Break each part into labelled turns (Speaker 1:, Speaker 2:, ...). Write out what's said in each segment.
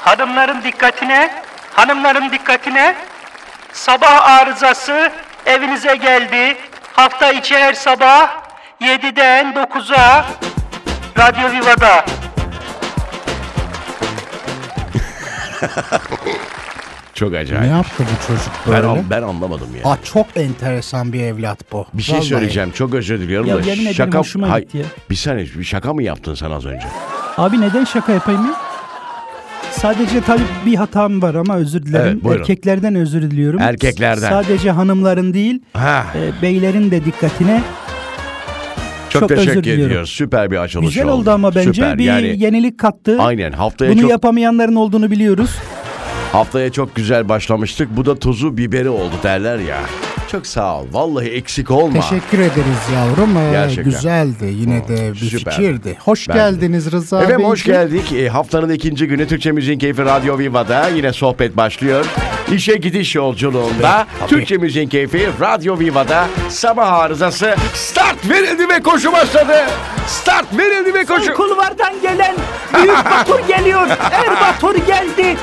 Speaker 1: Hanımların dikkatine, hanımların dikkatine. Sabah arızası evinize geldi. Hafta içi her sabah 7'den 9'a Radyo Viva'da.
Speaker 2: Çok
Speaker 3: Ne
Speaker 2: acayip.
Speaker 3: yaptı bu çocuk
Speaker 2: Ben,
Speaker 3: böyle?
Speaker 2: an- ben anlamadım ya.
Speaker 3: Aa, çok enteresan bir evlat bu.
Speaker 2: Bir şey
Speaker 3: Vallahi.
Speaker 2: söyleyeceğim. Çok özür diliyorum
Speaker 4: Ya
Speaker 2: da.
Speaker 4: yemin ederim hoşuma
Speaker 2: Hay-
Speaker 4: gitti ya.
Speaker 2: Bir saniye. Bir şaka mı yaptın sen az önce?
Speaker 4: Abi neden şaka yapayım ya? Sadece tabii bir hatam var ama özür dilerim.
Speaker 2: Evet, buyurun.
Speaker 4: Erkeklerden özür diliyorum.
Speaker 2: Erkeklerden.
Speaker 4: Sadece hanımların değil,
Speaker 2: Ha.
Speaker 4: e, beylerin de dikkatine.
Speaker 2: Çok,
Speaker 4: çok özür
Speaker 2: teşekkür
Speaker 4: diliyorum.
Speaker 2: ediyoruz. Süper bir açılış
Speaker 4: Güzel
Speaker 2: oldu.
Speaker 4: oldu, ama bence
Speaker 2: Süper.
Speaker 4: bir
Speaker 2: yani
Speaker 4: yenilik kattı.
Speaker 2: aynen haftaya
Speaker 4: Bunu
Speaker 2: çok
Speaker 4: yapamayanların olduğunu biliyoruz.
Speaker 2: haftaya çok güzel başlamıştık. Bu da tuzu biberi oldu derler ya. Çok sağ ol. Vallahi eksik olma.
Speaker 3: Teşekkür ederiz yavrum. Ee,
Speaker 2: Gerçekten.
Speaker 3: Güzeldi. Yine de bir
Speaker 2: süper.
Speaker 3: fikirdi. Hoş
Speaker 2: Ben de.
Speaker 3: geldiniz Rıza
Speaker 2: Efendim
Speaker 3: Beyciğim.
Speaker 2: hoş geldik. E, haftanın ikinci günü Türkçe Müziğin Keyfi Radyo Viva'da yine sohbet başlıyor. İşe gidiş yolculuğunda Türkçe Müziğin Keyfi Radyo Viva'da sabah arızası start verildi ve koşu başladı. Start verildi ve koşu...
Speaker 4: Kulvardan gelen Büyük Batur geliyor. Er Batur geldi.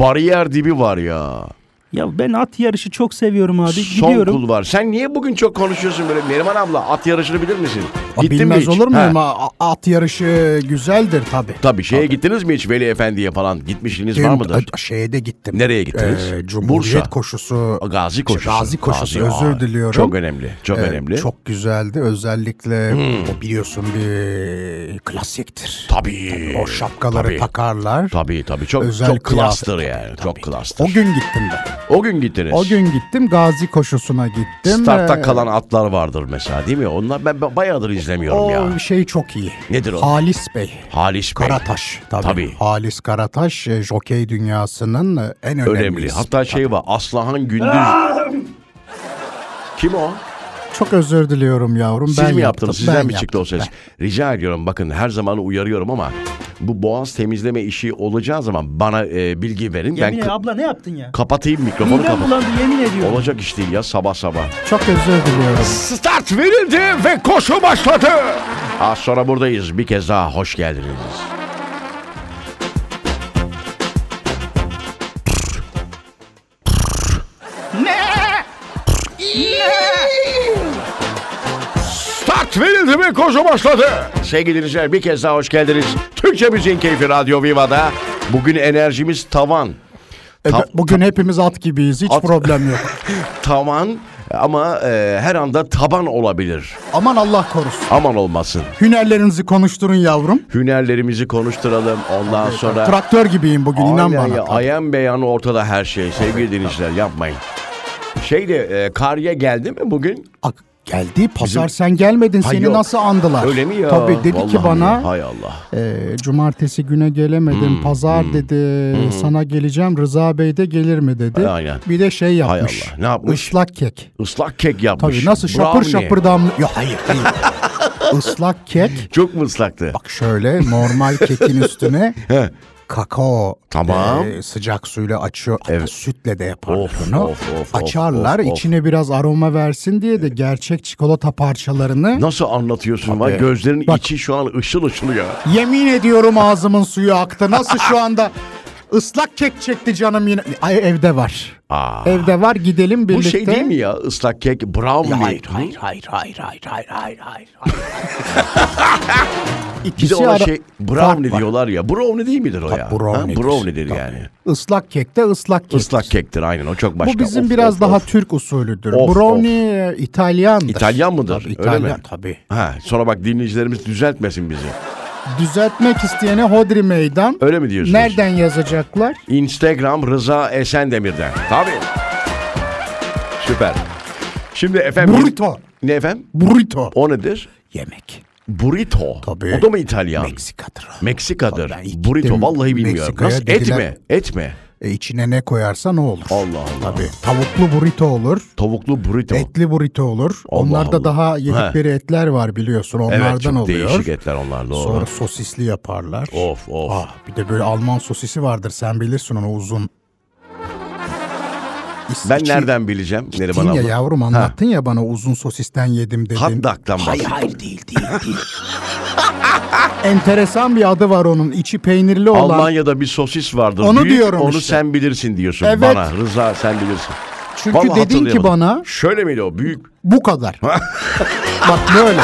Speaker 2: Bariyer dibi var ya.
Speaker 4: Ya ben at yarışı çok seviyorum abi.
Speaker 2: Son
Speaker 4: Gidiyorum.
Speaker 2: kul var. Sen niye bugün çok konuşuyorsun böyle? Neriman abla at yarışını bilir misin?
Speaker 3: Aa,
Speaker 2: Gittin mi
Speaker 3: Bilmez
Speaker 2: hiç?
Speaker 3: olur
Speaker 2: Ha.
Speaker 3: muyum? Aa, At yarışı güzeldir tabii.
Speaker 2: Tabii şeye gittiniz mi hiç Veli Efendi'ye falan? Gitmişliğiniz var
Speaker 3: Dün-
Speaker 2: mıdır?
Speaker 3: a- Şeye de gittim.
Speaker 2: Nereye gittiniz?
Speaker 3: Ee, Cumhuriyet
Speaker 2: Bursa.
Speaker 3: koşusu.
Speaker 2: Gazi koşusu.
Speaker 3: Gazi koşusu.
Speaker 2: Gazi,
Speaker 3: özür
Speaker 2: aa,
Speaker 3: diliyorum.
Speaker 2: Çok önemli. Çok
Speaker 3: Ee,
Speaker 2: önemli. Hmm.
Speaker 3: Çok güzeldi. Özellikle o biliyorsun bir klasiktir.
Speaker 2: Tabii.
Speaker 3: O şapkaları
Speaker 2: tabii.
Speaker 3: takarlar.
Speaker 2: Tabii tabii. Çok,
Speaker 3: Özel
Speaker 2: çok
Speaker 3: kıyafet.
Speaker 2: klastır yani. Çok klastır.
Speaker 3: O gün gittim ben.
Speaker 2: O gün gittiniz.
Speaker 3: O gün gittim Gazi koşusuna gittim.
Speaker 2: Startta
Speaker 3: Ee,
Speaker 2: kalan atlar vardır mesela değil mi? Onlar ben ben bayağıdır izlemiyorum
Speaker 3: o
Speaker 2: ya.
Speaker 3: şey çok iyi.
Speaker 2: Nedir o?
Speaker 3: Halis Bey.
Speaker 2: Halis Bey.
Speaker 3: Karataş tabii.
Speaker 2: Tabii.
Speaker 3: Halis Karataş e, jokey dünyasının e, en önemli.
Speaker 2: Önemli. Hatta şey var. Aslıhan Gündüz. Kim o?
Speaker 3: Çok özür diliyorum yavrum.
Speaker 2: Siz
Speaker 3: ben
Speaker 2: mi
Speaker 3: yaptım,
Speaker 2: yaptınız? Sizden
Speaker 3: ben
Speaker 2: mi çıktı
Speaker 3: yaptım,
Speaker 2: o ses?
Speaker 3: ben.
Speaker 2: Rica ediyorum bakın her zaman uyarıyorum ama bu boğaz temizleme işi olacağı zaman bana e, bilgi verin. ben
Speaker 4: Yemin
Speaker 2: ka-
Speaker 4: ederim abla ne yaptın ya?
Speaker 2: kapatayım mikrofonu
Speaker 4: Midem
Speaker 2: kapat.
Speaker 4: bulandı yemin ediyorum.
Speaker 2: Olacak iş değil ya sabah sabah.
Speaker 3: Çok özür diliyorum.
Speaker 2: Start verildi ve koşu başladı. Az sonra buradayız. Bir kez daha hoş geldiniz. Start verildi ve koşu başladı. Sevgili dinleyiciler bir kez daha hoş geldiniz. Türkçe Müziğin Keyfi Radyo Viva'da. Bugün enerjimiz tavan.
Speaker 3: E,
Speaker 2: Ta-
Speaker 3: bugün hepimiz at gibiyiz. Hiç
Speaker 2: At-
Speaker 3: problem yok.
Speaker 2: Tavan ama e, her anda taban olabilir.
Speaker 3: Aman Allah korusun.
Speaker 2: Aman olmasın.
Speaker 3: Hünerlerinizi konuşturun yavrum.
Speaker 2: hünerlerimizi konuşturalım. Ondan sonra
Speaker 3: Traktör gibiyim bugün inan
Speaker 2: Aynen
Speaker 3: bana.
Speaker 2: ya, ayan beyan ortada her şey. Sevgili dinleyiciler yapmayın. Şeyde e, karya geldi mi bugün?
Speaker 3: Ak- geldi pazar
Speaker 2: Bizim-
Speaker 3: sen gelmedin
Speaker 2: Ha,
Speaker 3: seni
Speaker 2: yok.
Speaker 3: nasıl andılar?
Speaker 2: Öyle mi ya?
Speaker 3: Tabii dedi
Speaker 2: Vallahi
Speaker 3: ki bana
Speaker 2: mi? Hay Allah.
Speaker 3: e, cumartesi güne
Speaker 2: Hmm,
Speaker 3: gelemedim pazar dedi sana geleceğim Rıza Bey de gelir mi dedi.
Speaker 2: Aynen.
Speaker 3: Bir de şey
Speaker 2: Hay
Speaker 3: yapmış.
Speaker 2: Allah. Ne yapmış?
Speaker 3: Islak kek.
Speaker 2: Islak kek yapmış.
Speaker 3: Tabii nasıl şapır
Speaker 2: Brownie.
Speaker 3: şapır damla. Ya hayır değil. Islak kek.
Speaker 2: Çok mu ıslaktı?
Speaker 3: Bak şöyle normal kekin üstüne
Speaker 2: He.
Speaker 3: kakao
Speaker 2: Tamam.
Speaker 3: e, sıcak suyla açıyor. Hatta
Speaker 2: Evet.
Speaker 3: Sütle de yaparlar
Speaker 2: Of,
Speaker 3: onu.
Speaker 2: of, of, of,
Speaker 3: Açarlar
Speaker 2: of, of.
Speaker 3: içine biraz aroma versin diye de gerçek çikolata parçalarını
Speaker 2: Nasıl anlatıyorsun? Var? Gözlerin
Speaker 3: Bak.
Speaker 2: içi şu an ışıl ışıl ya.
Speaker 3: Yemin ediyorum ağzımın suyu aktı. Nasıl şu anda ıslak kek çekti canım yine. Ay evde var.
Speaker 2: Aa.
Speaker 3: Evde var gidelim
Speaker 2: Bu
Speaker 3: birlikte.
Speaker 2: şey değil mi ya? Islak kek brownie.
Speaker 3: Hayır,
Speaker 2: hayır. Bir
Speaker 3: İkisi
Speaker 2: de ona
Speaker 3: ara-
Speaker 2: şey
Speaker 3: Fark
Speaker 2: brownie
Speaker 3: var.
Speaker 2: diyorlar ya. Brownie değil midir o
Speaker 3: Tabii
Speaker 2: ya?
Speaker 3: brownie'dir.
Speaker 2: Ha, brownie'dir
Speaker 3: Tabii.
Speaker 2: yani.
Speaker 3: Islak kek de ıslak kek.
Speaker 2: Islak kektir aynen o çok başka.
Speaker 3: Bu bizim
Speaker 2: Of,
Speaker 3: biraz
Speaker 2: of,
Speaker 3: daha
Speaker 2: of.
Speaker 3: Türk usulüdür.
Speaker 2: Of,
Speaker 3: Brownie e, İtalyandır.
Speaker 2: İtalyan mıdır?
Speaker 3: Tabii,
Speaker 2: Öyle
Speaker 3: İtalyan
Speaker 2: mi?
Speaker 3: tabii.
Speaker 2: Ha, sonra bak dinleyicilerimiz düzeltmesin bizi.
Speaker 3: Düzeltmek isteyene hodri meydan.
Speaker 2: Öyle mi diyorsunuz?
Speaker 3: Nereden yazacaklar?
Speaker 2: Instagram Rıza Esendemir'den. Tabii. Süper. Şimdi efendim...
Speaker 3: Burrito.
Speaker 2: Ne efendim?
Speaker 3: Burrito.
Speaker 2: O nedir?
Speaker 3: Yemek.
Speaker 2: Burrito.
Speaker 3: Tabii.
Speaker 2: O da mı İtalyan?
Speaker 3: Meksika'dır o.
Speaker 2: Meksikadır.
Speaker 3: Tabii ben ilk
Speaker 2: Burrito
Speaker 3: gittim
Speaker 2: vallahi bilmiyorum.
Speaker 3: Meksika'ya
Speaker 2: Nasıl?
Speaker 3: dediler-
Speaker 2: Etme. Etme.
Speaker 3: E içine ne koyarsan o olur.
Speaker 2: Allah Allah.
Speaker 3: Tabii. Tavuklu burrito olur.
Speaker 2: Tavuklu burrito.
Speaker 3: Etli burrito olur.
Speaker 2: Allah
Speaker 3: Onlarda
Speaker 2: Allah.
Speaker 3: daha yedikleri etler var biliyorsun. Onlardan
Speaker 2: evet çok
Speaker 3: oluyor.
Speaker 2: değişik etler onlar doğru.
Speaker 3: Sonra sosisli yaparlar.
Speaker 2: Of of.
Speaker 3: Ah, bir de böyle Alman sosisi vardır. Sen bilirsin onu uzun. İs-
Speaker 2: ben
Speaker 3: içi-
Speaker 2: nereden bileceğim? Neriman
Speaker 3: Gittin ya
Speaker 2: abla?
Speaker 3: yavrum anlattın ya bana uzun sosisten yedim dedin.
Speaker 2: Hot dog'dan
Speaker 3: Hayır
Speaker 2: bahsediyorum.
Speaker 3: hayır değil değil değil. Enteresan bir adı var onun. İçi peynirli olan.
Speaker 2: Almanya'da bir sosis vardır.
Speaker 3: Onu
Speaker 2: büyük,
Speaker 3: diyorum
Speaker 2: Onu
Speaker 3: işte.
Speaker 2: sen bilirsin diyorsun
Speaker 3: Evet.
Speaker 2: bana. Rıza sen bilirsin.
Speaker 3: Çünkü
Speaker 2: Vallahi
Speaker 3: dedin ki
Speaker 2: hatırlayamadım.
Speaker 3: bana
Speaker 2: Şöyle miydi o büyük?
Speaker 3: bu kadar. Bak böyle.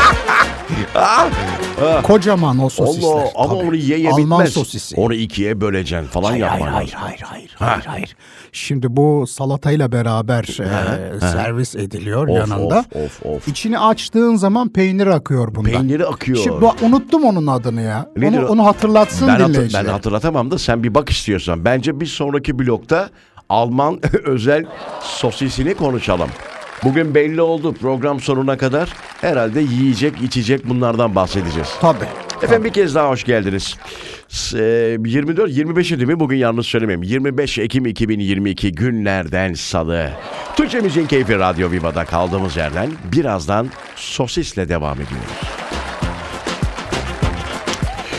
Speaker 3: Kocaman o sosisler.
Speaker 2: Ah. Allah ama
Speaker 3: tabii.
Speaker 2: onu ye ye
Speaker 3: Alman
Speaker 2: bitmez.
Speaker 3: sosisi.
Speaker 2: Onu ikiye böleceksin falan
Speaker 3: Hayır
Speaker 2: yapman
Speaker 3: hayır hayır
Speaker 2: lazım.
Speaker 3: hayır hayır, hayır hayır. Şimdi bu salatayla beraber e, servis ediliyor
Speaker 2: Of,
Speaker 3: yanında.
Speaker 2: of, of, of.
Speaker 3: İçini açtığın zaman peynir akıyor bundan.
Speaker 2: Peyniri akıyor.
Speaker 3: Şimdi bu- unuttum onun adını ya.
Speaker 2: Nedir
Speaker 3: onu,
Speaker 2: o?
Speaker 3: onu hatırlatsın
Speaker 2: Ben, hatır-
Speaker 3: dinleyiciler.
Speaker 2: ben hatırlatamam da sen bir bak istiyorsan. Bence bir sonraki blokta Alman özel sosisini konuşalım. Bugün belli oldu program sonuna kadar herhalde yiyecek içecek bunlardan bahsedeceğiz.
Speaker 3: Tabii.
Speaker 2: Efendim bir kez daha hoş geldiniz. S- e, eee, 24 25 değil mi? Bugün yalnız söylemeyeyim. 25 Ekim 2022 günlerden salı. Türkçe Müziğin Keyfi Radyo Viva'da kaldığımız yerden birazdan sosisle devam ediyoruz.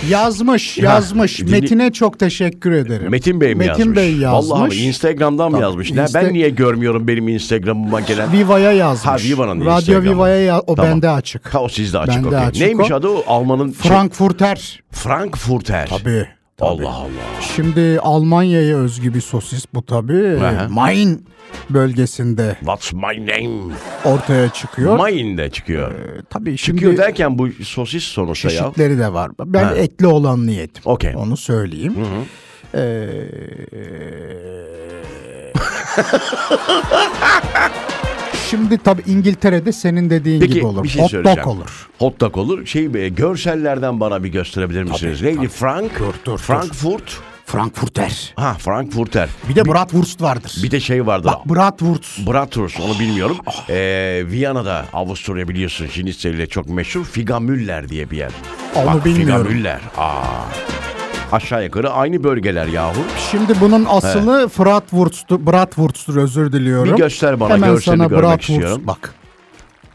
Speaker 3: Yazmış,
Speaker 2: Ya,
Speaker 3: yazmış.
Speaker 2: dinle-
Speaker 3: Metine çok teşekkür ederim.
Speaker 2: Metin Bey mi
Speaker 3: Metin
Speaker 2: yazmış?
Speaker 3: Bey yazmış.
Speaker 2: Vallahi abi, Instagram'dan mı
Speaker 3: Tabii,
Speaker 2: yazmış? Ne,
Speaker 3: Insta-
Speaker 2: ben niye görmüyorum benim Instagram'ıma gelen?
Speaker 3: Viva'ya yazmış.
Speaker 2: Ha, Viva'nın
Speaker 3: Radyo
Speaker 2: Instagram'ı.
Speaker 3: Viva'ya ya- o
Speaker 2: Tamam.
Speaker 3: bende açık.
Speaker 2: Ha, o sizde açık.
Speaker 3: Bende
Speaker 2: okey.
Speaker 3: açık
Speaker 2: Neymiş
Speaker 3: o.
Speaker 2: adı o? Alman'ın şey-
Speaker 3: Frankfurter.
Speaker 2: Frankfurter.
Speaker 3: Tabii.
Speaker 2: Allah Allah.
Speaker 3: Şimdi Almanya'ya özgü bir sosis bu tabii.
Speaker 2: Aha.
Speaker 3: Main bölgesinde
Speaker 2: What's my name?
Speaker 3: ortaya çıkıyor.
Speaker 2: Mayin'de
Speaker 3: Ee,
Speaker 2: çıkıyor. Çıkıyor
Speaker 3: tabii şimdi
Speaker 2: derken bu sosis sonuçta ya.
Speaker 3: çeşitleri de var. Ben etli olan niyetim.
Speaker 2: Okey.
Speaker 3: Onu söyleyeyim. Ee, Şimdi tabii İngiltere'de senin dediğin gibi olur.
Speaker 2: bir şey
Speaker 3: Hot
Speaker 2: söyleyeceğim.
Speaker 3: dog olur.
Speaker 2: Hot dog olur. Şey be, görsellerden bana bir gösterebilir misiniz? Neydi? Frank,
Speaker 3: Dur, dur, dur.
Speaker 2: Frankfurt.
Speaker 3: Frankfurter.
Speaker 2: Ha Frankfurter.
Speaker 3: Bir de bratwurst vardır.
Speaker 2: Bir de şey vardı.
Speaker 3: Bak Oh. bratwurst.
Speaker 2: Bratwurst onu bilmiyorum. Ee, Viyana'da Avusturya biliyorsun Şinitse ile çok meşhur. Figamüller diye bir yer.
Speaker 3: Onu
Speaker 2: Bak,
Speaker 3: bilmiyorum.
Speaker 2: Figamüller. Aa. Aşağı yukarı aynı bölgeler yahu.
Speaker 3: Şimdi bunun asılı bratwurst'tur, bratwurst'tur özür diliyorum.
Speaker 2: Bir göster bana,
Speaker 3: Hemen
Speaker 2: görselini
Speaker 3: sana
Speaker 2: görmek
Speaker 3: bratwurst-
Speaker 2: istiyorum.
Speaker 3: Bak.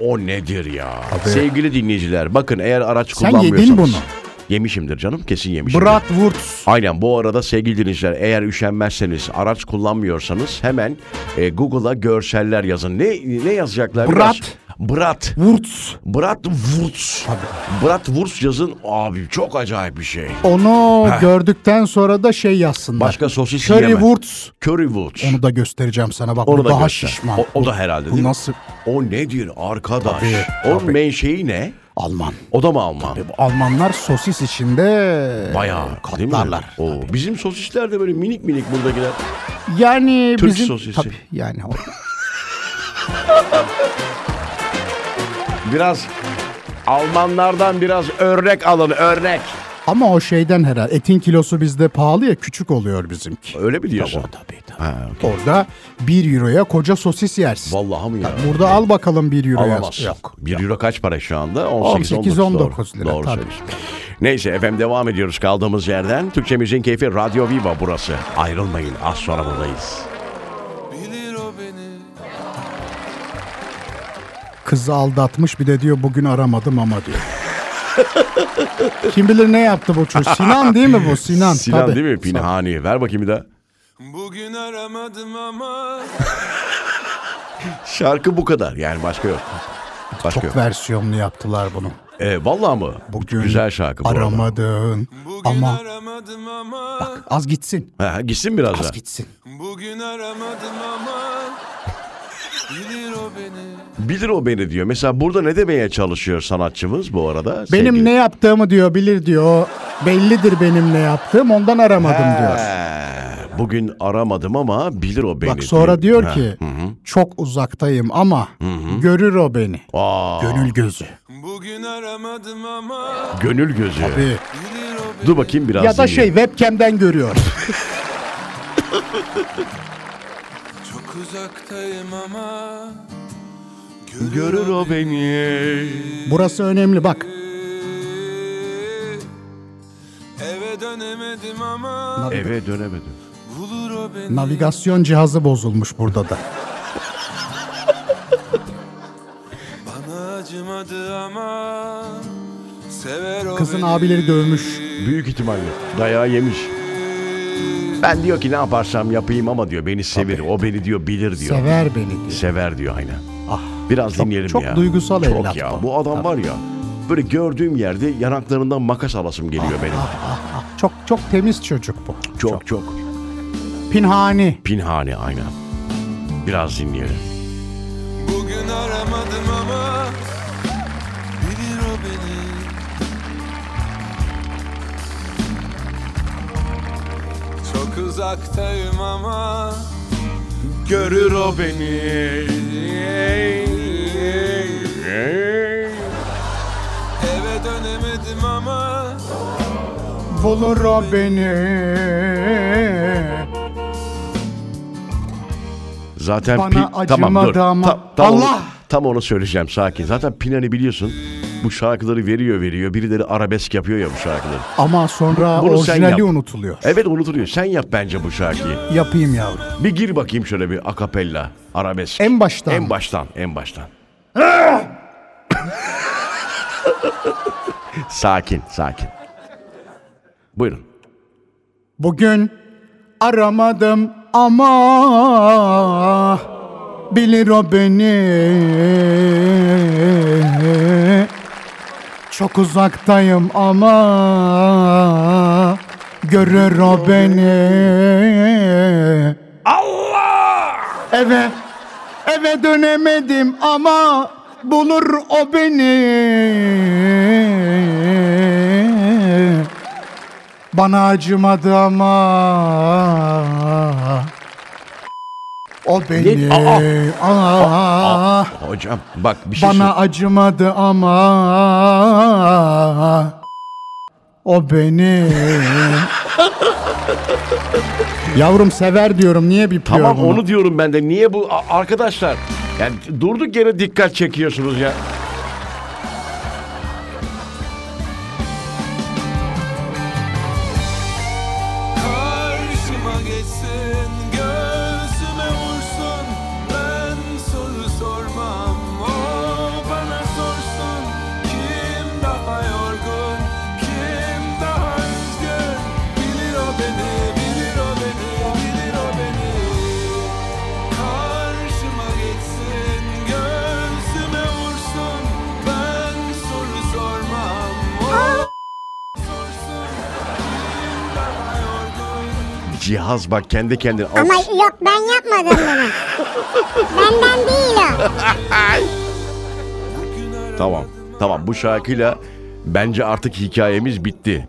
Speaker 2: O nedir ya? Sevgili dinleyiciler bakın eğer araç
Speaker 3: Sen yedin
Speaker 2: kullanmıyorsanız.
Speaker 3: bunu.
Speaker 2: Yemişimdir canım kesin yemişimdir.
Speaker 3: Bratwurst.
Speaker 2: Aynen bu arada sevgili dinleyiciler eğer üşenmezseniz araç kullanmıyorsanız hemen e, Google'a görseller yazın. Ne ne yazacaklar?
Speaker 3: Brat.
Speaker 2: Brat.
Speaker 3: Wurz.
Speaker 2: Brat Wurz. Brat Wurz yazın. Abi çok acayip bir şey.
Speaker 3: Onu gördükten sonra da şey yazsınlar.
Speaker 2: Başka sosis
Speaker 3: Curry
Speaker 2: yiyemem.
Speaker 3: Wurz.
Speaker 2: Curry Wurz.
Speaker 3: Onu da göstereceğim sana bak.
Speaker 2: Onu
Speaker 3: bu
Speaker 2: da
Speaker 3: daha
Speaker 2: göster.
Speaker 3: şişman.
Speaker 2: O, o da herhalde değil
Speaker 3: Bu
Speaker 2: mi?
Speaker 3: nasıl
Speaker 2: O nedir arkadaş?
Speaker 3: Tabii,
Speaker 2: Onun
Speaker 3: tabii.
Speaker 2: menşei ne?
Speaker 3: Alman?
Speaker 2: O da mı Alman?
Speaker 3: Bu Almanlar sosis içinde
Speaker 2: Bayağı değil mi?
Speaker 3: katlarlar.
Speaker 2: Oo, bizim sosisler de böyle minik minik buradakiler.
Speaker 3: Yani
Speaker 2: Türk
Speaker 3: bizim
Speaker 2: sosisi.
Speaker 3: tabii yani o-
Speaker 2: Biraz Almanlardan biraz örnek alın örnek.
Speaker 3: ama o şeyden herhalde etin kilosu bizde pahalı ya küçük oluyor bizimki.
Speaker 2: Öyle mi diyorsun?
Speaker 3: Tabii tabii. tabii. Orada 1 euroya koca sosis yersin.
Speaker 2: Vallahi mi ya?
Speaker 3: Burada al bakalım 1 euroya.
Speaker 2: Alamazsın.
Speaker 3: Yok.
Speaker 2: 1 euro kaç para şu anda? 18,
Speaker 3: 18, 19
Speaker 2: Doğru,
Speaker 3: lira,
Speaker 2: doğru
Speaker 3: tabii.
Speaker 2: söylüyorsun. Neyse efendim devam ediyoruz kaldığımız yerden. Türkçe Müziğin Keyfi Radyo Viva burası. Ayrılmayın az sonra buradayız.
Speaker 5: Bilir o beni
Speaker 3: Kızı aldatmış bir de diyor bugün aramadım ama diyor. Kim bilir ne yaptı bu çocuk. Sinan değil mi bu? Sinan.
Speaker 2: Sinan
Speaker 3: tabii.
Speaker 2: değil mi? Pinhani. Ver bakayım bir daha.
Speaker 5: Bugün aramadım ama
Speaker 2: Şarkı bu kadar yani başka yok. Başka
Speaker 3: Çok
Speaker 2: yok.
Speaker 3: versiyonlu yaptılar bunu.
Speaker 2: E, vallahi mı?
Speaker 3: Bugün
Speaker 2: Güzel şarkı bu arada.
Speaker 3: aramadın.
Speaker 5: Bugün
Speaker 3: Ama
Speaker 5: aramadım ama
Speaker 3: az gitsin.
Speaker 2: Ha, gitsin biraz da.
Speaker 3: Az gitsin.
Speaker 5: Bugün aramadım ama Bilir o beni
Speaker 2: Bilir o beni diyor. Mesela burada ne demeye çalışıyor sanatçımız bu arada?
Speaker 3: Benim
Speaker 2: Sevgili-
Speaker 3: ne yaptığımı diyor bilir diyor. Bellidir benim ne yaptığım ondan aramadım diyor.
Speaker 2: He, Bugün aramadım ama bilir o beni.
Speaker 3: Bak sonra diyor
Speaker 2: Ha.
Speaker 3: ki çok uzaktayım ama görür o beni.
Speaker 2: Aa,
Speaker 3: Gönül gözü.
Speaker 5: Bugün aramadım ama
Speaker 2: gönül gözü.
Speaker 3: Bir-
Speaker 5: Bilir o beni
Speaker 2: Dur bakayım biraz.
Speaker 3: Ya da şey
Speaker 2: dinleyeyim.
Speaker 3: webcam'den görüyor.
Speaker 5: Çok uzaktayım ama
Speaker 3: şey,
Speaker 2: Görür o beni.
Speaker 3: Burası önemli bak.
Speaker 5: Ee, Eve dönemedim ama
Speaker 2: Eve dönemedim.
Speaker 5: Bulur o beni
Speaker 3: Navigasyon cihazı bozulmuş burada da.
Speaker 5: Bana acımadı ama Sever o
Speaker 3: Kızın
Speaker 5: beni
Speaker 3: abileri dövmüş.
Speaker 2: Büyük ihtimalle dayağı yemiş. Ben diyor ki ne yaparsam yapayım ama diyor beni sevir. O beni diyor bilir diyor.
Speaker 3: Sever beni diyor.
Speaker 2: Sever diyor aynen. Ah, biraz dinleyelim
Speaker 3: çok
Speaker 2: ya.
Speaker 3: duygusal
Speaker 2: çok
Speaker 3: evlat
Speaker 2: ya.
Speaker 3: bu.
Speaker 2: Bu adam var ya. Böyle gördüğüm yerde yanaklarından makas alasım
Speaker 3: Ah,
Speaker 2: geliyor benim.
Speaker 3: Çok çok temiz çocuk bu.
Speaker 2: Çok çok.
Speaker 3: Pinhani.
Speaker 2: Pinhane aynen. Biraz dinleyelim.
Speaker 5: Bugün aramadım ama bilir o beni. Çok uzaktayım ama
Speaker 2: Görür o beni.
Speaker 5: eve dönemedim ama
Speaker 3: Bulur o beni.
Speaker 2: Zaten
Speaker 3: Bana
Speaker 2: pi-
Speaker 3: acımadı
Speaker 2: tamam dur.
Speaker 3: ama-
Speaker 2: Ta- tam
Speaker 3: Allah!
Speaker 2: Onu, tam onu söyleyeceğim sakin. Zaten Pinhane biliyorsun bu şarkıları veriyor veriyor. Birileri arabesk yapıyor ya bu şarkıları.
Speaker 3: Ama sonra
Speaker 2: Bunu sen
Speaker 3: orijinali
Speaker 2: yap.
Speaker 3: unutuluyor.
Speaker 2: Evet unutuluyor. Sen yap bence bu şarkıyı.
Speaker 3: Yapayım yavrum.
Speaker 2: Bir gir bakayım şöyle bir akapella arabesk.
Speaker 3: En baştan.
Speaker 2: En baştan, en baştan. sakin, sakin. Buyurun.
Speaker 3: Bugün aramadım ama bilir o beni. Çok uzaktayım ama görür o beni. Allah! Eve eve dönemedim ama bulur o beni. Bana acımadı ama O beni Aa,
Speaker 2: Hocam bak bir şey
Speaker 3: Bana acımadı ama O beni Yavrum sever diyorum niye bir
Speaker 2: Tamam onu diyorum ben de. Niye bu a- arkadaşlar? Yani durduk yere dikkat çekiyorsunuz ya.
Speaker 5: Karşıma geçsin, göğsüme vursun Ben soru sormam, o bana sorsun Kim daha yorgun, kim daha üzgün Bilir o beni, bilir o beni, bilir o beni Karşıma geçsin, göğsüme vursun Ben soru sormam, o sorsun Kim daha yorgun
Speaker 2: Cihaz bak kendi kendine.
Speaker 6: Ama yok ben yapmadım bunu. Benden değil o.
Speaker 2: Tamam. Tamam bu şarkıyla bence artık hikayemiz bitti.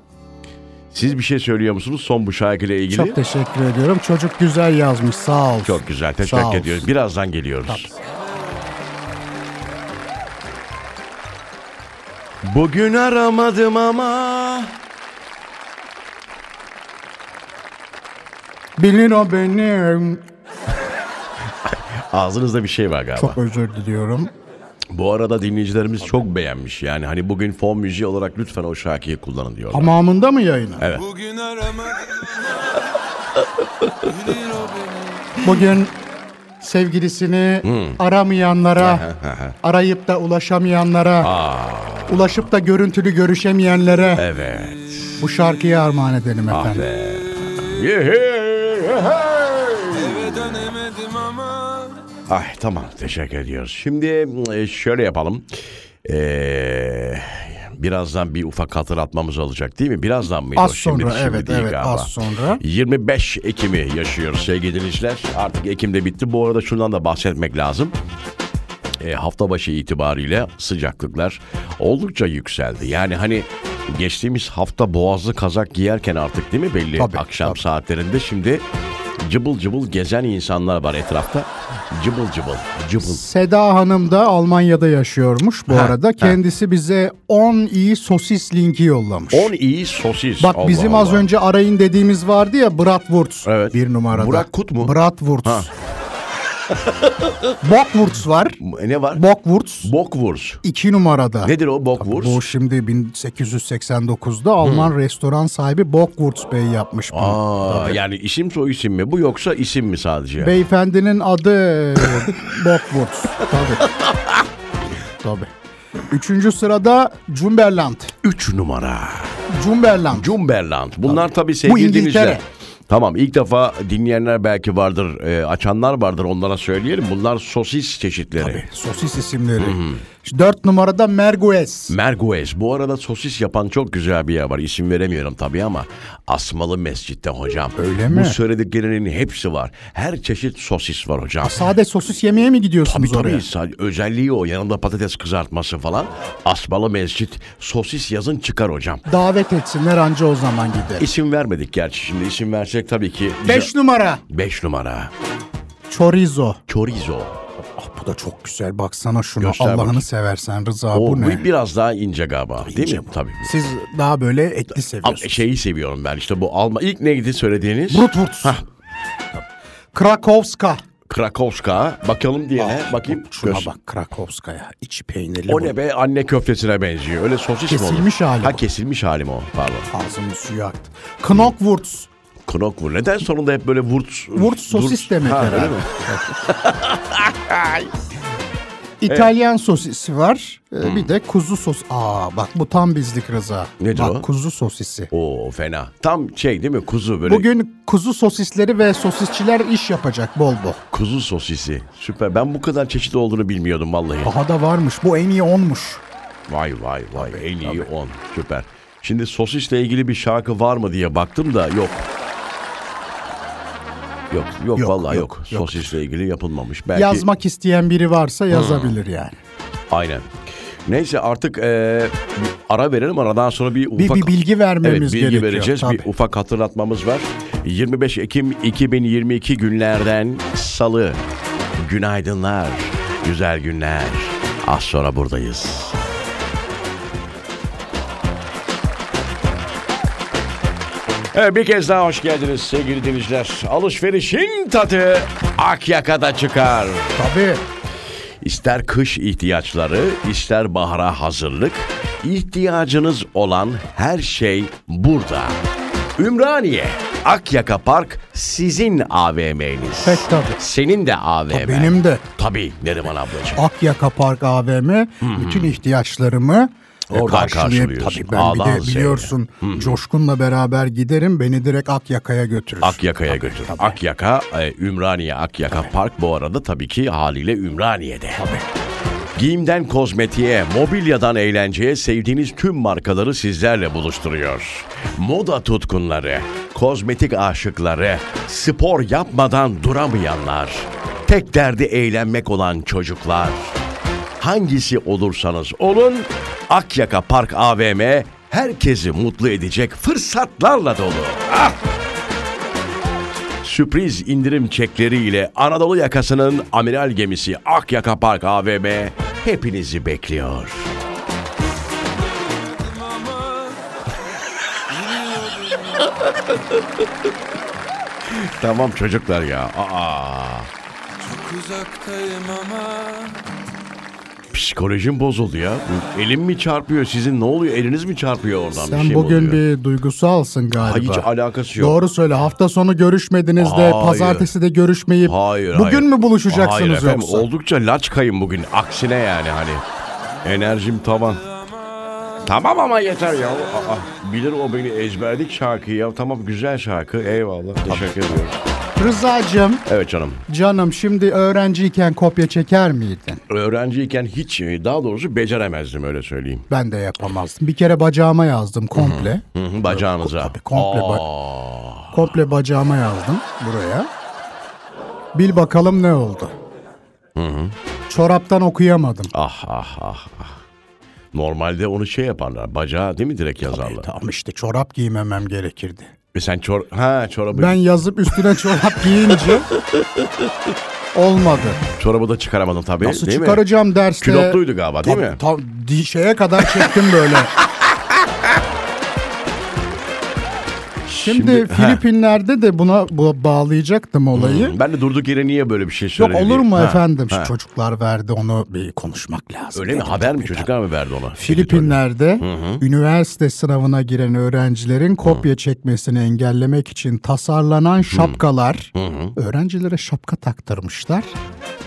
Speaker 2: Siz bir şey söylüyor musunuz son bu şarkıyla ilgili?
Speaker 3: Çok teşekkür ediyorum çocuk güzel yazmış sağ ol
Speaker 2: Çok güzel.
Speaker 3: Sağ
Speaker 2: Teşekkür
Speaker 3: olsun.
Speaker 2: ediyoruz. Birazdan geliyoruz. Bugün aramadım ama
Speaker 3: Bilir o beni
Speaker 2: ağzınızda bir şey var galiba.
Speaker 3: Çok özür diliyorum
Speaker 2: Bu arada dinleyicilerimiz çok beğenmiş. Yani hani bugün fon müziği olarak lütfen o şarkıyı kullanın diyorlar.
Speaker 3: Tamamında mı yayını?
Speaker 5: Bugün aramadım ama Bilir o beni
Speaker 3: Bugün sevgilisini
Speaker 2: Hmm.
Speaker 3: aramayanlara, arayıp da ulaşamayanlara, ulaşıp da görüntülü görüşemeyenlere
Speaker 2: Evet. Ah
Speaker 3: bu şarkıyı armağan edelim efendim.
Speaker 5: Eve dönemedim ama
Speaker 2: Ay Ah, tamam teşekkür ediyoruz. Şimdi e, şöyle yapalım. Ee, birazdan bir ufak hatırlatmamız olacak değil mi? Birazdan mıydı
Speaker 3: Az
Speaker 2: o? Şimdi,
Speaker 3: sonra,
Speaker 2: şimdi
Speaker 3: evet,
Speaker 2: değil
Speaker 3: evet,
Speaker 2: galiba.
Speaker 3: az sonra.
Speaker 2: 25 Ekim'i yaşıyoruz sevgili dinleyiciler. Artık Ekim'de bitti. Bu arada şundan da bahsetmek lazım. E, hafta başı itibariyle sıcaklıklar oldukça yükseldi. Yani hani geçtiğimiz hafta boğazlı kazak giyerken artık değil mi belli
Speaker 3: Tabii,
Speaker 2: akşam
Speaker 3: tabii.
Speaker 2: saatlerinde şimdi cıbıl cıbıl gezen insanlar var etrafta. Cıbıl cıbıl cıbıl.
Speaker 3: Seda Hanım da Almanya'da yaşıyormuş bu arada. Kendisi bize 10 iyi sosis linki yollamış.
Speaker 2: 10 iyi sosis.
Speaker 3: Bak
Speaker 2: Allah
Speaker 3: bizim az
Speaker 2: Allah.
Speaker 3: önce arayın dediğimiz vardı ya Bratwurst
Speaker 2: Evet.
Speaker 3: bir numarada.
Speaker 2: Burak Kut mu?
Speaker 3: Bratwurst. Bockwurst var.
Speaker 2: E, ne var?
Speaker 3: Bockwurst
Speaker 2: Bockwurst.
Speaker 3: iki numarada.
Speaker 2: Nedir o Bockwurst?
Speaker 3: Bu şimdi 1889'da Alman restoran sahibi Bockwurst Bey yapmış bunu.
Speaker 2: Aa, yani isim soy isim mi bu yoksa isim mi sadece?
Speaker 3: Beyefendinin adı Bockwurst. Tabii. Tabii. Üçüncü sırada Cumberland.
Speaker 2: 3 numara.
Speaker 3: Cumberland.
Speaker 2: Cumberland. Bunlar tabii,
Speaker 3: Bu
Speaker 2: sevgili
Speaker 3: İngiltere.
Speaker 2: dinleyiciler. Tamam ilk defa dinleyenler belki vardır, e, açanlar vardır onlara söyleyelim. Bunlar sosis çeşitleri.
Speaker 3: Sosis isimleri. Dört numarada Merguez.
Speaker 2: Merguez. Bu arada sosis yapan çok güzel bir yer var. İsim veremiyorum tabii ama Asmalı Mescid'de hocam.
Speaker 3: Öyle
Speaker 2: Bu
Speaker 3: mi?
Speaker 2: söylediklerinin hepsi var. Her çeşit sosis var hocam.
Speaker 3: Sade sosis yemeye mi gidiyorsunuz
Speaker 2: Tabii
Speaker 3: oraya?
Speaker 2: tabii. Sa- Özelliği o. Yanında patates kızartması falan. Asmalı Mescit sosis yazın çıkar hocam.
Speaker 3: Davet etsinler anca o zaman gider.
Speaker 2: İsim vermedik gerçi şimdi. isim versek tabii ki.
Speaker 3: Beş numara.
Speaker 2: 5 numara.
Speaker 3: Chorizo.
Speaker 2: Chorizo.
Speaker 3: Ah bu da çok güzel. Baksana şunu.
Speaker 2: Göster
Speaker 3: Allah'ını
Speaker 2: bakayım.
Speaker 3: seversen Rıza
Speaker 2: O
Speaker 3: bu ne?
Speaker 2: bi- biraz daha ince galiba. değil mi? Şey Tabii.
Speaker 3: Siz daha böyle etli
Speaker 2: Al- şey-
Speaker 3: seviyorsunuz.
Speaker 2: şeyi seviyorum ben işte bu Alman. İlk neydi söylediğiniz?
Speaker 3: Bratwurst.
Speaker 2: Hah,
Speaker 3: Krakowska.
Speaker 2: Krakowska. Bakalım diye. E, Bakayım.
Speaker 3: Şuna
Speaker 2: Göz-
Speaker 3: bak Krakowska'ya. İçi peynirli.
Speaker 2: O ne be anne köftesine benziyor. Öyle sosis mi olur?
Speaker 3: E Kesilmiş hali
Speaker 2: Ha
Speaker 3: bu.
Speaker 2: kesilmiş hali mi o? Pardon.
Speaker 3: Ağzımın suyu aktı. Knockwurst.
Speaker 2: Knokvur. Neden sonunda hep böyle vurt...
Speaker 3: Wurst sosis
Speaker 2: vurt-
Speaker 3: demek
Speaker 2: Ha, öyle mi?
Speaker 3: herhalde. İtalyan sosisi var. Ee,
Speaker 2: Hmm.
Speaker 3: Bir de kuzu sos. Aa bak bu tam bizlik Rıza.
Speaker 2: Nedir
Speaker 3: bak,
Speaker 2: o?
Speaker 3: kuzu sosisi.
Speaker 2: Oo fena. Tam şey değil mi? Kuzu böyle
Speaker 3: Bugün kuzu sosisleri ve sosisçiler iş yapacak bol bol.
Speaker 2: kuzu sosisi. Süper. Ben bu kadar çeşit olduğunu bilmiyordum vallahi.
Speaker 3: Daha da varmış. Bu en iyi onmuş.
Speaker 2: Vay vay vay. en iyi 10. Süper. Şimdi sosisle ilgili bir şarkı var mı diye baktım da yok. Yok, yok,
Speaker 3: Yok,
Speaker 2: vallahi yok.
Speaker 3: yok, yok.
Speaker 2: Sosisle ilgili yapılmamış. Belki Hmm.
Speaker 3: Yazmak isteyen biri varsa yazabilir yani.
Speaker 2: Aynen. Neyse artık eee, ara verelim aradan sonra bir ufak...
Speaker 3: bir bilgi vermemiz
Speaker 2: evet, bilgi
Speaker 3: gerekiyor,
Speaker 2: vereceğiz. Bir
Speaker 3: tabii.
Speaker 2: ufak hatırlatmamız var. 25 Ekim 2022 günlerden salı. Günaydınlar, güzel günler. Az sonra buradayız. Evet, bir kez daha hoş geldiniz sevgili dinleyiciler. Alışverişin tadı Akyaka'da çıkar.
Speaker 3: Tabii.
Speaker 2: İster kış ihtiyaçları, ister bahara hazırlık, ihtiyacınız olan her şey burada. Ümraniye, Akyaka Park sizin AVM'niz.
Speaker 3: Pek tabii.
Speaker 2: Senin de AVM.
Speaker 3: E, benim de.
Speaker 2: Tabii Neriman ablacığım.
Speaker 3: Akyaka Park AVM bütün ihtiyaçlarımı e,
Speaker 2: Hmm. Oradan
Speaker 3: karşılayıp
Speaker 2: karşılıyorsun. Hmm.
Speaker 3: tabii ben bir
Speaker 2: Ağdan
Speaker 3: de
Speaker 2: zevke.
Speaker 3: biliyorsun Coşkun'la beraber giderim beni direkt Akyaka'ya götürür.
Speaker 2: Akyaka'ya götür. Akyaka, e, Ümraniye Akyaka Park bu arada tabii ki haliyle Ümraniye'de. Giyimden kozmetiğe, mobilyadan eğlenceye sevdiğiniz tüm markaları sizlerle buluşturuyor. Moda tutkunları, kozmetik aşıkları, spor yapmadan duramayanlar, tek derdi eğlenmek olan çocuklar. Hangisi olursanız olun, Akyaka Park AVM herkesi mutlu edecek fırsatlarla dolu. Sürpriz indirim çekleriyle Anadolu yakasının amiral gemisi Akyaka Park AVM hepinizi bekliyor. tamam çocuklar ya. Aa,
Speaker 5: Uzaktayım ama
Speaker 2: psikolojim bozuldu ya. Bu Elim mi çarpıyor sizin ne oluyor? Eliniz mi çarpıyor oradan?
Speaker 3: Sen
Speaker 2: bir şey mi
Speaker 3: bugün
Speaker 2: oluyor?
Speaker 3: bir duygusalsın galiba.
Speaker 2: Hayır, hiç alakası yok.
Speaker 3: Doğru söyle. Hafta sonu görüşmediniz de
Speaker 2: Hayır.
Speaker 3: pazartesi de görüşmeyip
Speaker 2: Hayır.
Speaker 3: bugün
Speaker 2: hayır.
Speaker 3: mü buluşacaksınız
Speaker 2: Hayır efendim,
Speaker 3: yoksa?
Speaker 2: Oldukça laçkayım bugün. Aksine yani hani. Enerjim tavan. Tamam ama yeter ya. Aa, bilir o beni ezberdik şarkıyı ya. Tamam güzel şarkı. Eyvallah. Teşekkür ediyorum.
Speaker 3: Rıza'cığım
Speaker 2: Evet canım.
Speaker 3: canım şimdi öğrenciyken kopya çeker miydin?
Speaker 2: Öğrenciyken hiç e, daha doğrusu beceremezdim öyle söyleyeyim.
Speaker 3: Ben de yapamazdım. Bir kere bacağıma yazdım komple.
Speaker 2: Hı hı, Bacağınıza.
Speaker 3: Tabii komple, ba-
Speaker 2: Aa,
Speaker 3: komple bacağıma yazdım buraya. Bil bakalım ne oldu? Çoraptan okuyamadım.
Speaker 2: ah ah ah. ah. Normalde onu şey yaparlar. Bacağı değil mi direkt yazarlar?
Speaker 3: E, Tamam işte çorap giymemem gerekirdi.
Speaker 2: Ve sen çor ha çorabı
Speaker 3: Ben yazıp üstüne çorap giyince olmadı.
Speaker 2: çorabı da çıkaramadım tabii.
Speaker 3: Nasıl
Speaker 2: değil mi?
Speaker 3: çıkaracağım derste?
Speaker 2: Külotluydu galiba, değil mi?
Speaker 3: Tam di- şeye kadar çektim böyle. Şimdi,
Speaker 2: Şimdi-
Speaker 3: Filipinler'de de buna bu- bağlayacaktım olayı.
Speaker 2: Ben de durduk yere niye böyle bir şey
Speaker 3: Yok
Speaker 2: söyledi?
Speaker 3: olur
Speaker 2: diye.
Speaker 3: mu
Speaker 2: Ha,
Speaker 3: efendim? Şu
Speaker 2: ha.
Speaker 3: çocuklar verdi onu bir konuşmak lazım.
Speaker 2: Öyle mi?
Speaker 3: dedim.
Speaker 2: Haber mi? Çocuklar mı verdi ona?
Speaker 3: Filipinler'de üniversite sınavına giren öğrencilerin kopya çekmesini engellemek için tasarlanan şapkalar öğrencilere şapka taktırmışlar.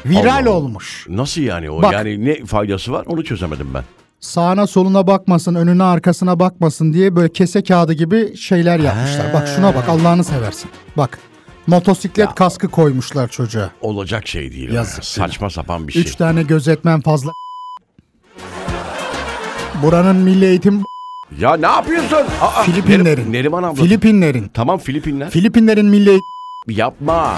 Speaker 3: Viral
Speaker 2: Allah Allah.
Speaker 3: olmuş.
Speaker 2: Nasıl yani o?
Speaker 3: Bak.
Speaker 2: Yani ne faydası var? Onu çözemedim ben.
Speaker 3: Sağına soluna bakmasın, önüne arkasına bakmasın diye böyle kese kağıdı gibi şeyler yapmışlar. Bak şuna bak Allah'ını seversin. Bak motosiklet kaskı koymuşlar çocuğa.
Speaker 2: Olacak şey değil. o
Speaker 3: Yazık
Speaker 2: ya.
Speaker 3: sana.
Speaker 2: Saçma sapan bir şey.
Speaker 3: Üç tane gözetmen fazla. Buranın milli eğitim
Speaker 2: Ya ne yapıyorsun? Aa,
Speaker 3: Filipinlerin.
Speaker 2: Nerim- Neriman abla.
Speaker 3: Filipinlerin.
Speaker 2: Tamam Filipinler.
Speaker 3: Filipinlerin milli eğitim-
Speaker 2: Yapma.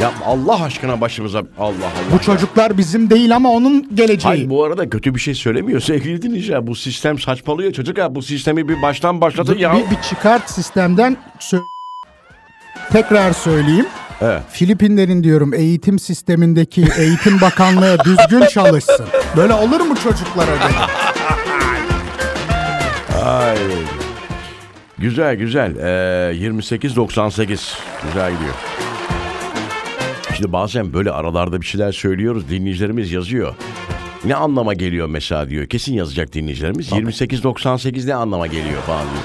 Speaker 2: Yapma Allah aşkına başımıza. Allah Allah.
Speaker 3: Bu çocuklar bizim değil ama onun geleceği.
Speaker 2: Hayır bu arada kötü bir şey söylemiyor sevgili dinleyiciler. Bu sistem saçmalıyor çocuk ya. Bu sistemi bir baştan başlatın ya.
Speaker 3: Bir, bir çıkart sistemden sö- tekrar söyleyeyim.
Speaker 2: Evet.
Speaker 3: Filipinlerin diyorum eğitim sistemindeki eğitim bakanlığı düzgün çalışsın. Böyle olur mu çocuklara? dedim.
Speaker 2: Ay. Güzel güzel. Ee, 28.98. Güzel gidiyor. Şimdi bazen böyle aralarda bir şeyler söylüyoruz. Dinleyicilerimiz yazıyor. Ne anlama geliyor mesela diyor. Kesin yazacak dinleyicilerimiz. 28.98 ne anlama geliyor falan diyor.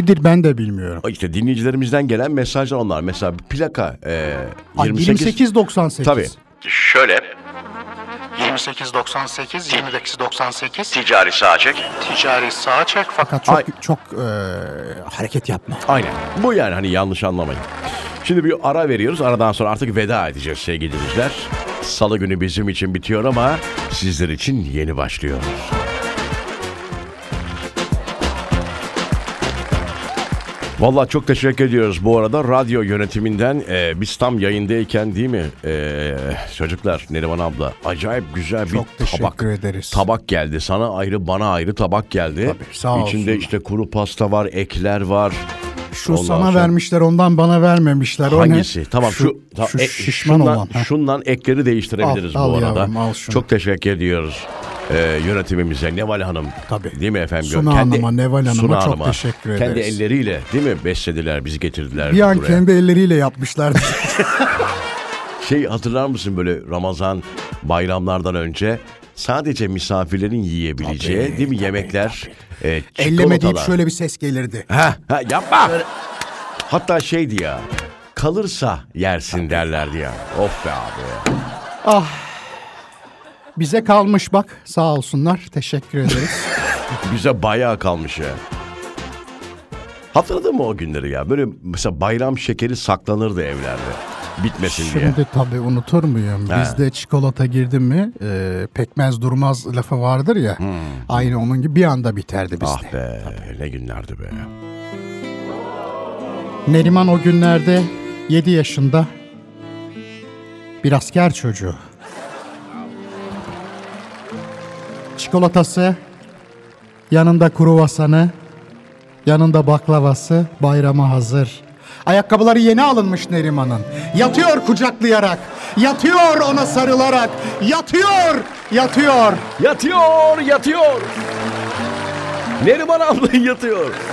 Speaker 3: Nedir ben de bilmiyorum.
Speaker 2: Ay İşte dinleyicilerimizden gelen mesajlar onlar. Mesela bir plaka. ee,
Speaker 3: Ay,
Speaker 2: 28.
Speaker 3: 28.98.
Speaker 2: Tabii.
Speaker 7: Şöyle
Speaker 8: 2898 2898
Speaker 7: ticari sağa çek.
Speaker 8: ticari sağa çek fakat
Speaker 3: Fakat çok
Speaker 2: Ay.
Speaker 3: çok eee, hareket yapma.
Speaker 2: Aynen. Bu yani hani yanlış anlamayın. Şimdi bir ara veriyoruz. Aradan sonra artık veda edeceğiz sevgili dinleyiciler. Salı günü bizim için bitiyor ama sizler için yeni başlıyor. Vallahi çok teşekkür ediyoruz bu arada radyo yönetiminden e, biz tam yayındayken değil mi e, çocuklar Neriman abla acayip güzel
Speaker 3: Çok
Speaker 2: bir
Speaker 3: teşekkür
Speaker 2: tabak
Speaker 3: ederiz.
Speaker 2: tabak geldi sana ayrı bana ayrı tabak geldi
Speaker 3: Tabii, sağ
Speaker 2: İçinde
Speaker 3: olsunlar.
Speaker 2: işte kuru pasta var ekler var
Speaker 3: Şu
Speaker 2: Ondan
Speaker 3: sana
Speaker 2: sonra-
Speaker 3: vermişler ondan bana vermemişler. O ne?
Speaker 2: Hangisi? Tamam şu, tamam,
Speaker 3: şu
Speaker 2: e,
Speaker 3: şişman
Speaker 2: şundan,
Speaker 3: olan. ha.
Speaker 2: şundan ekleri değiştirebiliriz
Speaker 3: Al,
Speaker 2: bu
Speaker 3: al
Speaker 2: arada.
Speaker 3: yavrum, al şunu.
Speaker 2: Çok teşekkür ediyoruz e, yönetimimize Neval Hanım.
Speaker 3: Tabii.
Speaker 2: Değil mi efendim?
Speaker 3: Suna Hanım'a, Neval
Speaker 2: Suna
Speaker 3: Hanım'a çok teşekkür
Speaker 2: Kendi
Speaker 3: ederiz.
Speaker 2: elleriyle değil mi beslediler bizi getirdiler
Speaker 3: Bir an
Speaker 2: buraya.
Speaker 3: kendi elleriyle yapmışlardı.
Speaker 2: Şey hatırlar mısın böyle Ramazan bayramlardan önce sadece misafirlerin yiyebileceği değil mi yemekler? E,
Speaker 3: Elleme deyip
Speaker 2: çikolatalar.
Speaker 3: şöyle bir ses gelirdi.
Speaker 2: Ha, ha, yapma. Hatta şeydi ya. Kalırsa yersin derlerdi ya. Of be abi.
Speaker 3: Bize kalmış bak sağ olsunlar teşekkür ederiz.
Speaker 2: Bize bayağı kalmış ya. Hatırladın mı o günleri ya? Böyle mesela bayram şekeri saklanırdı evlerde. Bitmesin diye.
Speaker 3: Şimdi tabii unutur muyum? Bizde çikolata girdi mi e, pekmez durmaz lafı vardır ya. Aynı onun gibi bir anda biterdi bizde.
Speaker 2: Hmm. Ah be ne günlerdi be.
Speaker 3: Neriman o günlerde 7 yaşında bir asker çocuğu. Çikolatası, yanında kruvasanı, yanında baklavası bayrama hazır. Ayakkabıları yeni alınmış Neriman'ın. Yatıyor kucaklayarak, yatıyor ona sarılarak, yatıyor, yatıyor.
Speaker 2: Yatıyor yatıyor. Neriman abla yatıyor.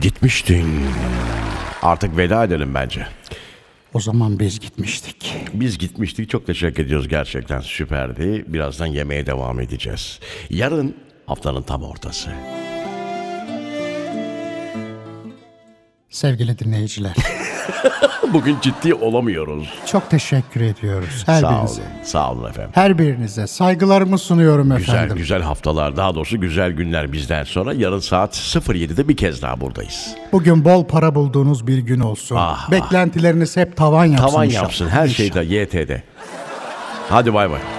Speaker 2: Gitmiştin. Artık veda edelim bence.
Speaker 3: O zaman biz gitmiştik.
Speaker 2: Biz gitmiştik. Çok teşekkür ediyoruz. Gerçekten süperdi. Birazdan yemeğe devam edeceğiz. Yarın haftanın tam ortası.
Speaker 3: Sevgili dinleyiciler,
Speaker 2: Bugün ciddi olamıyoruz.
Speaker 3: çok teşekkür ediyoruz her
Speaker 2: Sağ
Speaker 3: birinize.
Speaker 2: olun. Sağ olun efendim.
Speaker 3: Her birinize saygılarımı sunuyorum
Speaker 2: Güzel
Speaker 3: efendim.
Speaker 2: güzel haftalar daha doğrusu güzel günler bizden sonra yarın saat 07'de bir kez daha buradayız.
Speaker 3: Bugün bol para bulduğunuz bir gün olsun.
Speaker 2: Ah, ah.
Speaker 3: Beklentileriniz hep tavan yapsın.
Speaker 2: Tavan şey
Speaker 3: inşallah.
Speaker 2: yapsın her şeyde YT'de. Hadi bay bay.